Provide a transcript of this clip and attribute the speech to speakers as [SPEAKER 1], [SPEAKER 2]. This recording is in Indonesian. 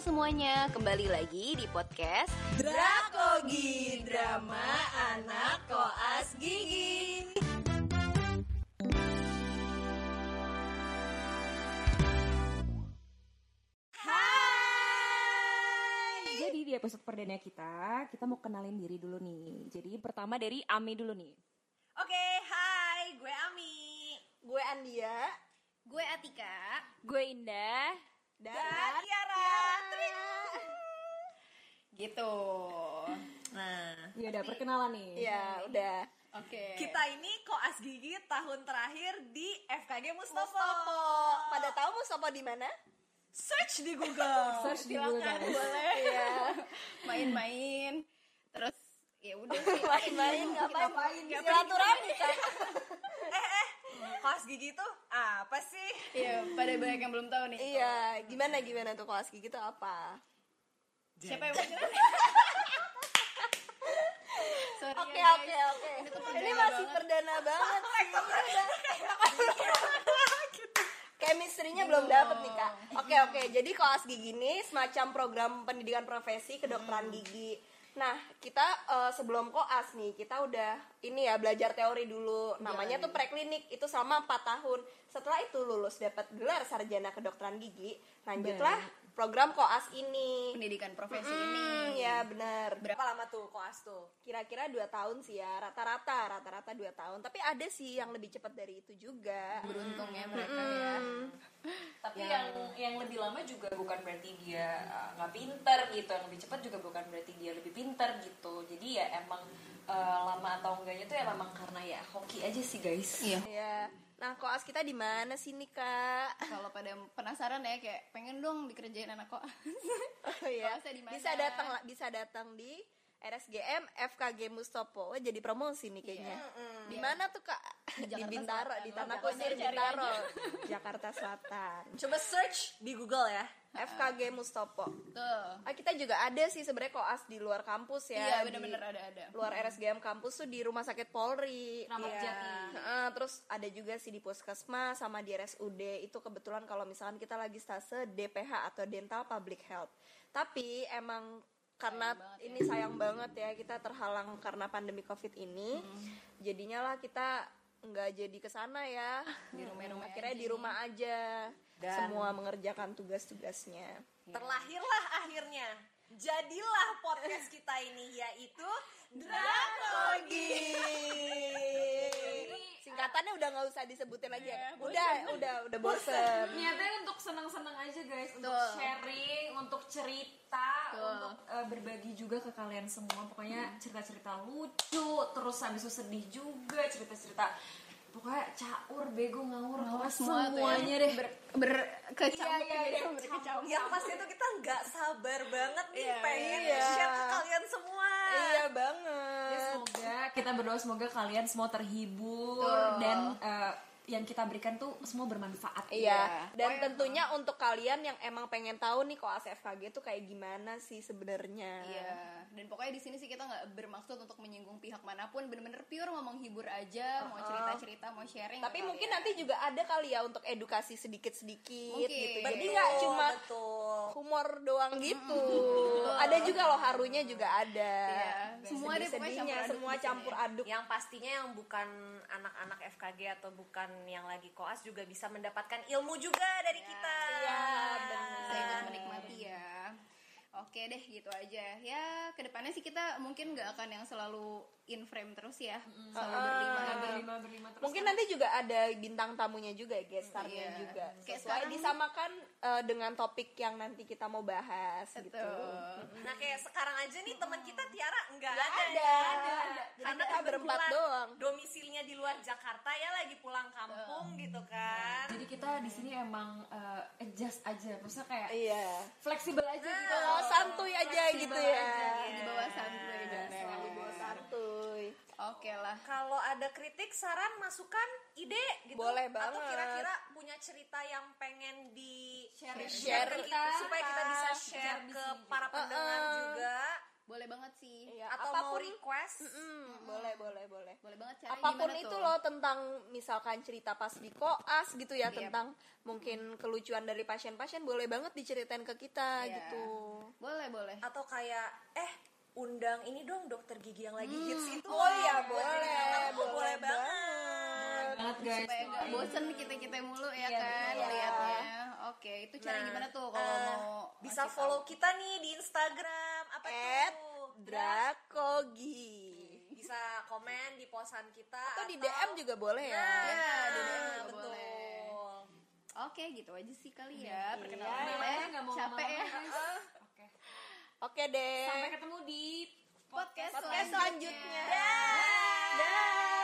[SPEAKER 1] semuanya, kembali lagi di podcast
[SPEAKER 2] Drakogi Drama Anak Koas Gigi Hai
[SPEAKER 3] Jadi di episode perdana kita, kita mau kenalin diri dulu nih. Jadi pertama dari Ami dulu nih.
[SPEAKER 2] Oke, hai, gue Ami Gue Andia
[SPEAKER 1] Gue Atika
[SPEAKER 3] Gue Indah.
[SPEAKER 2] Dan,
[SPEAKER 4] Iya,
[SPEAKER 2] Tiara
[SPEAKER 1] Gitu
[SPEAKER 2] Nah,
[SPEAKER 3] Iya udah perkenalan nih.
[SPEAKER 2] ya udah
[SPEAKER 1] Oke
[SPEAKER 2] kita ini koas gigi tahun terakhir di FKG Mustopo.
[SPEAKER 4] Mustopo. Pada tahu Mustopo di mana?
[SPEAKER 2] Search di Google. Kan,
[SPEAKER 3] Search di Google guys.
[SPEAKER 2] Boleh.
[SPEAKER 4] Iya.
[SPEAKER 1] main-main Terus ya udah sih
[SPEAKER 4] Main-main ngapain?
[SPEAKER 2] Ngapain?
[SPEAKER 4] Silaturahmi kan?
[SPEAKER 2] eh, eh, koas gigi tuh apa sih?
[SPEAKER 1] Iya, pada banyak yang belum tahu nih
[SPEAKER 4] Iya, gimana gimana tuh kelas gigi tuh apa?
[SPEAKER 1] Siapa yang mau jelasin? Sorry ya,
[SPEAKER 4] Oke
[SPEAKER 1] guys.
[SPEAKER 4] oke oke.
[SPEAKER 1] Ini tuh
[SPEAKER 4] Ini
[SPEAKER 1] perdana
[SPEAKER 4] masih
[SPEAKER 1] banget.
[SPEAKER 4] perdana banget. Chemistry-nya belum
[SPEAKER 1] Iya.
[SPEAKER 4] dapet nih kak. Oke oke. Jadi koas gigi ini semacam program pendidikan profesi
[SPEAKER 1] Hmm.
[SPEAKER 4] kedokteran gigi. Nah kita eh, sebelum koas nih kita udah ini ya belajar teori dulu.
[SPEAKER 1] Iya.
[SPEAKER 4] Namanya tuh preklinik itu sama 4 tahun. Setelah itu lulus dapat gelar sarjana kedokteran gigi. Lanjutlah program koas ini.
[SPEAKER 1] Pendidikan profesi ini
[SPEAKER 4] Hmm, ya benar.
[SPEAKER 2] Berapa lama tuh koas tuh?
[SPEAKER 4] kira-kira dua tahun sih ya rata-rata rata-rata dua tahun tapi ada sih yang lebih cepat dari itu juga
[SPEAKER 1] Beruntung ya mereka ya
[SPEAKER 3] Tapi yang yang lebih lama juga bukan berarti dia uh, nggak pinter gitu, yang lebih cepat juga bukan berarti dia lebih pinter gitu. Jadi ya emang uh, lama atau enggaknya tuh ya memang karena ya hoki aja sih guys.
[SPEAKER 1] Iya
[SPEAKER 4] ya nah koas kita di mana sih nih kak
[SPEAKER 1] kalau pada penasaran ya kayak pengen dong dikerjain anak kok
[SPEAKER 4] Oh, ya.
[SPEAKER 1] Koasnya di mana?
[SPEAKER 4] bisa datang lah bisa datang di RSGM FKG Mustopo Wah, jadi promosi nih kayaknya di mana tuh kak
[SPEAKER 1] Iya. Di Jakarta
[SPEAKER 4] di, Bintaro
[SPEAKER 1] Selatan.
[SPEAKER 4] di
[SPEAKER 1] Lo
[SPEAKER 4] Tanah
[SPEAKER 1] Jakarta
[SPEAKER 4] Kusir
[SPEAKER 1] cari
[SPEAKER 4] Bintaro Jakarta Selatan
[SPEAKER 2] Coba search di Google ya.
[SPEAKER 4] FKG Mustopo
[SPEAKER 1] tuh
[SPEAKER 4] ah, kita juga ada sih sebenarnya koas di luar kampus ya
[SPEAKER 1] iya
[SPEAKER 4] di-
[SPEAKER 1] bener-bener ada ada
[SPEAKER 4] luar RSGM kampus tuh di rumah sakit Polri.
[SPEAKER 3] Ramak
[SPEAKER 4] Iya.
[SPEAKER 3] Jati.
[SPEAKER 4] Heeh, terus ada juga sih di puskesmas sama di RSUD. Itu kebetulan kalau misalkan kita lagi stase DPH atau Dental Public Health. Tapi emang karena ini sayang banget ya kita terhalang karena pandemi COVID ini. Jadinya lah kita nggak jadi ke sana ya. Di rumah Akhirnya di rumah aja. Semua mengerjakan tugas-tugasnya.
[SPEAKER 2] Terlahirlah akhirnya. Jadilah podcast kita ini yaitu Drakogi.
[SPEAKER 4] Singkatannya udah nggak usah disebutin lagi ya. Udah, udah, udah bosen.
[SPEAKER 3] Niatnya untuk senang-senang aja guys, untuk
[SPEAKER 1] Tuh.
[SPEAKER 3] sharing, untuk cerita,
[SPEAKER 1] Tuh.
[SPEAKER 3] untuk eh, berbagi juga ke kalian semua. Pokoknya cerita-cerita lucu, terus habis itu sedih juga, cerita-cerita pokoknya caur, bego, ngawur, pokoknya semuanya deh.
[SPEAKER 1] ya. ber, ber kecampur
[SPEAKER 3] Iya, iya,
[SPEAKER 1] gitu,
[SPEAKER 3] iya,
[SPEAKER 1] berkecampur.
[SPEAKER 2] Yang pasti Ya, itu kita nggak sabar banget nih
[SPEAKER 1] Iya,
[SPEAKER 2] pengen
[SPEAKER 4] iya, iya.
[SPEAKER 2] share ke kalian semua.
[SPEAKER 4] Iya
[SPEAKER 3] Ya,
[SPEAKER 4] banget. Iya.
[SPEAKER 3] semoga kita berdoa semoga kalian semua terhibur dan eh, yang kita berikan tuh semua bermanfaat.
[SPEAKER 4] Iya.
[SPEAKER 1] Iya.
[SPEAKER 4] Dan tentunya untuk kalian yang emang pengen tahu nih koas FKG tuh kayak gimana sih sebenarnya.
[SPEAKER 1] Iya. Dan pokoknya di sini sih kita nggak bermaksud untuk menyinggung pihak manapun, bener-bener pure mau menghibur aja, mau cerita-cerita, mau sharing. ya.
[SPEAKER 4] Tapi
[SPEAKER 1] ke
[SPEAKER 4] mungkin
[SPEAKER 1] kalian.
[SPEAKER 4] nanti juga ada kali ya untuk edukasi
[SPEAKER 1] iya.
[SPEAKER 4] sedikit-sedikit
[SPEAKER 1] Mungkin.
[SPEAKER 4] gitu. Jadi
[SPEAKER 1] Betul,
[SPEAKER 4] nggak cuma
[SPEAKER 2] betul.
[SPEAKER 4] humor doang gitu. Ada juga loh harunya juga ada.
[SPEAKER 1] Iya. Semua deh pokoknya
[SPEAKER 4] Sedih-sedihnya,
[SPEAKER 1] campur aduk
[SPEAKER 4] semua
[SPEAKER 1] di sini.
[SPEAKER 4] campur aduk.
[SPEAKER 5] yang pastinya yang bukan anak-anak FKG atau bukan yang lagi koas juga bisa mendapatkan ilmu juga dari kita.
[SPEAKER 4] Iya,
[SPEAKER 1] Bisa
[SPEAKER 4] benar.
[SPEAKER 1] ikut menikmati ya. Oke deh gitu aja. Ya kedepannya sih kita mungkin nggak akan yang selalu in frame terus ya. Selalu berlima.
[SPEAKER 3] berlima berlima terus. kan?
[SPEAKER 4] Mungkin nanti juga ada bintang tamunya juga ya, guest star-nya
[SPEAKER 1] Iya.
[SPEAKER 4] juga.
[SPEAKER 1] Kayak sekarang-
[SPEAKER 4] Sesuai disamakan eh, dengan topik yang nanti kita mau bahas gitu.
[SPEAKER 1] Betul.
[SPEAKER 2] Nah kayak sekarang aja nih teman kita Tiara nggak
[SPEAKER 4] Nggak
[SPEAKER 2] ada.
[SPEAKER 4] ada.
[SPEAKER 2] nggak
[SPEAKER 4] Jadi
[SPEAKER 2] Karena
[SPEAKER 4] kita berempat
[SPEAKER 2] kebetulan
[SPEAKER 4] doang.
[SPEAKER 2] Domisilinya di luar Jakarta ya lagi pulang kampung gitu kan.
[SPEAKER 3] Jadi kita di sini emang eh, adjust aja, maksudnya kayak
[SPEAKER 4] Iya.
[SPEAKER 3] fleksibel aja
[SPEAKER 2] Nah,
[SPEAKER 3] gitu.
[SPEAKER 4] Oh, santuy aja gitu ya.
[SPEAKER 1] Di bawah santuy bener.
[SPEAKER 4] Santuy.
[SPEAKER 1] Oke lah.
[SPEAKER 2] Kalau ada kritik, saran, masukan, ide gitu.
[SPEAKER 4] Boleh
[SPEAKER 2] Atau
[SPEAKER 4] banget.
[SPEAKER 2] kira-kira punya cerita yang pengen di share,
[SPEAKER 4] Share
[SPEAKER 2] ke
[SPEAKER 4] kita.
[SPEAKER 2] supaya kita bisa share ke para pendengar juga.
[SPEAKER 1] boleh banget sih
[SPEAKER 4] Iya,
[SPEAKER 3] atau mau
[SPEAKER 4] Uh-uh. apapun-
[SPEAKER 3] request
[SPEAKER 4] Mm, boleh boleh boleh
[SPEAKER 1] boleh banget Hmm. caranya
[SPEAKER 4] apapun
[SPEAKER 1] gimana
[SPEAKER 4] itu
[SPEAKER 1] tuh?
[SPEAKER 4] loh tentang misalkan cerita pas di koas gitu ya
[SPEAKER 1] Yep.
[SPEAKER 4] tentang mungkin kelucuan dari pasien-pasien boleh banget diceritain ke kita
[SPEAKER 1] Iya.
[SPEAKER 4] gitu
[SPEAKER 1] boleh boleh
[SPEAKER 3] atau kayak eh undang ini dong dokter gigi yang lagi hits itu
[SPEAKER 4] oh iya
[SPEAKER 3] Buat
[SPEAKER 4] boleh
[SPEAKER 3] diundang.
[SPEAKER 4] boleh,
[SPEAKER 3] Oh, boleh gitu. banget Iya,
[SPEAKER 4] banget
[SPEAKER 2] banget guys
[SPEAKER 1] supaya nggak bosen kita kita mulu ya
[SPEAKER 2] Iya,
[SPEAKER 1] kan
[SPEAKER 2] betul.
[SPEAKER 1] lihatnya oke itu cara gimana tuh kalau
[SPEAKER 3] Eh,
[SPEAKER 1] mau
[SPEAKER 3] bisa
[SPEAKER 1] ngasih tahu?
[SPEAKER 3] follow kita nih di Instagram apa
[SPEAKER 4] at
[SPEAKER 3] tuh Ya.
[SPEAKER 4] drakogi
[SPEAKER 3] bisa komen di posan kita
[SPEAKER 4] atau di DM juga boleh ya
[SPEAKER 3] Nah,
[SPEAKER 1] Ya, di DM juga
[SPEAKER 3] betul.
[SPEAKER 1] boleh. oke gitu aja sih kali ya perkenalan
[SPEAKER 2] Iya,
[SPEAKER 1] boleh
[SPEAKER 2] kita nggak mau
[SPEAKER 1] capek ya
[SPEAKER 2] lama-lama, guys. Oke.
[SPEAKER 4] oke deh
[SPEAKER 2] sampai ketemu di
[SPEAKER 1] podcast,
[SPEAKER 4] podcast selanjutnya
[SPEAKER 1] selanjutnya.
[SPEAKER 4] Dah.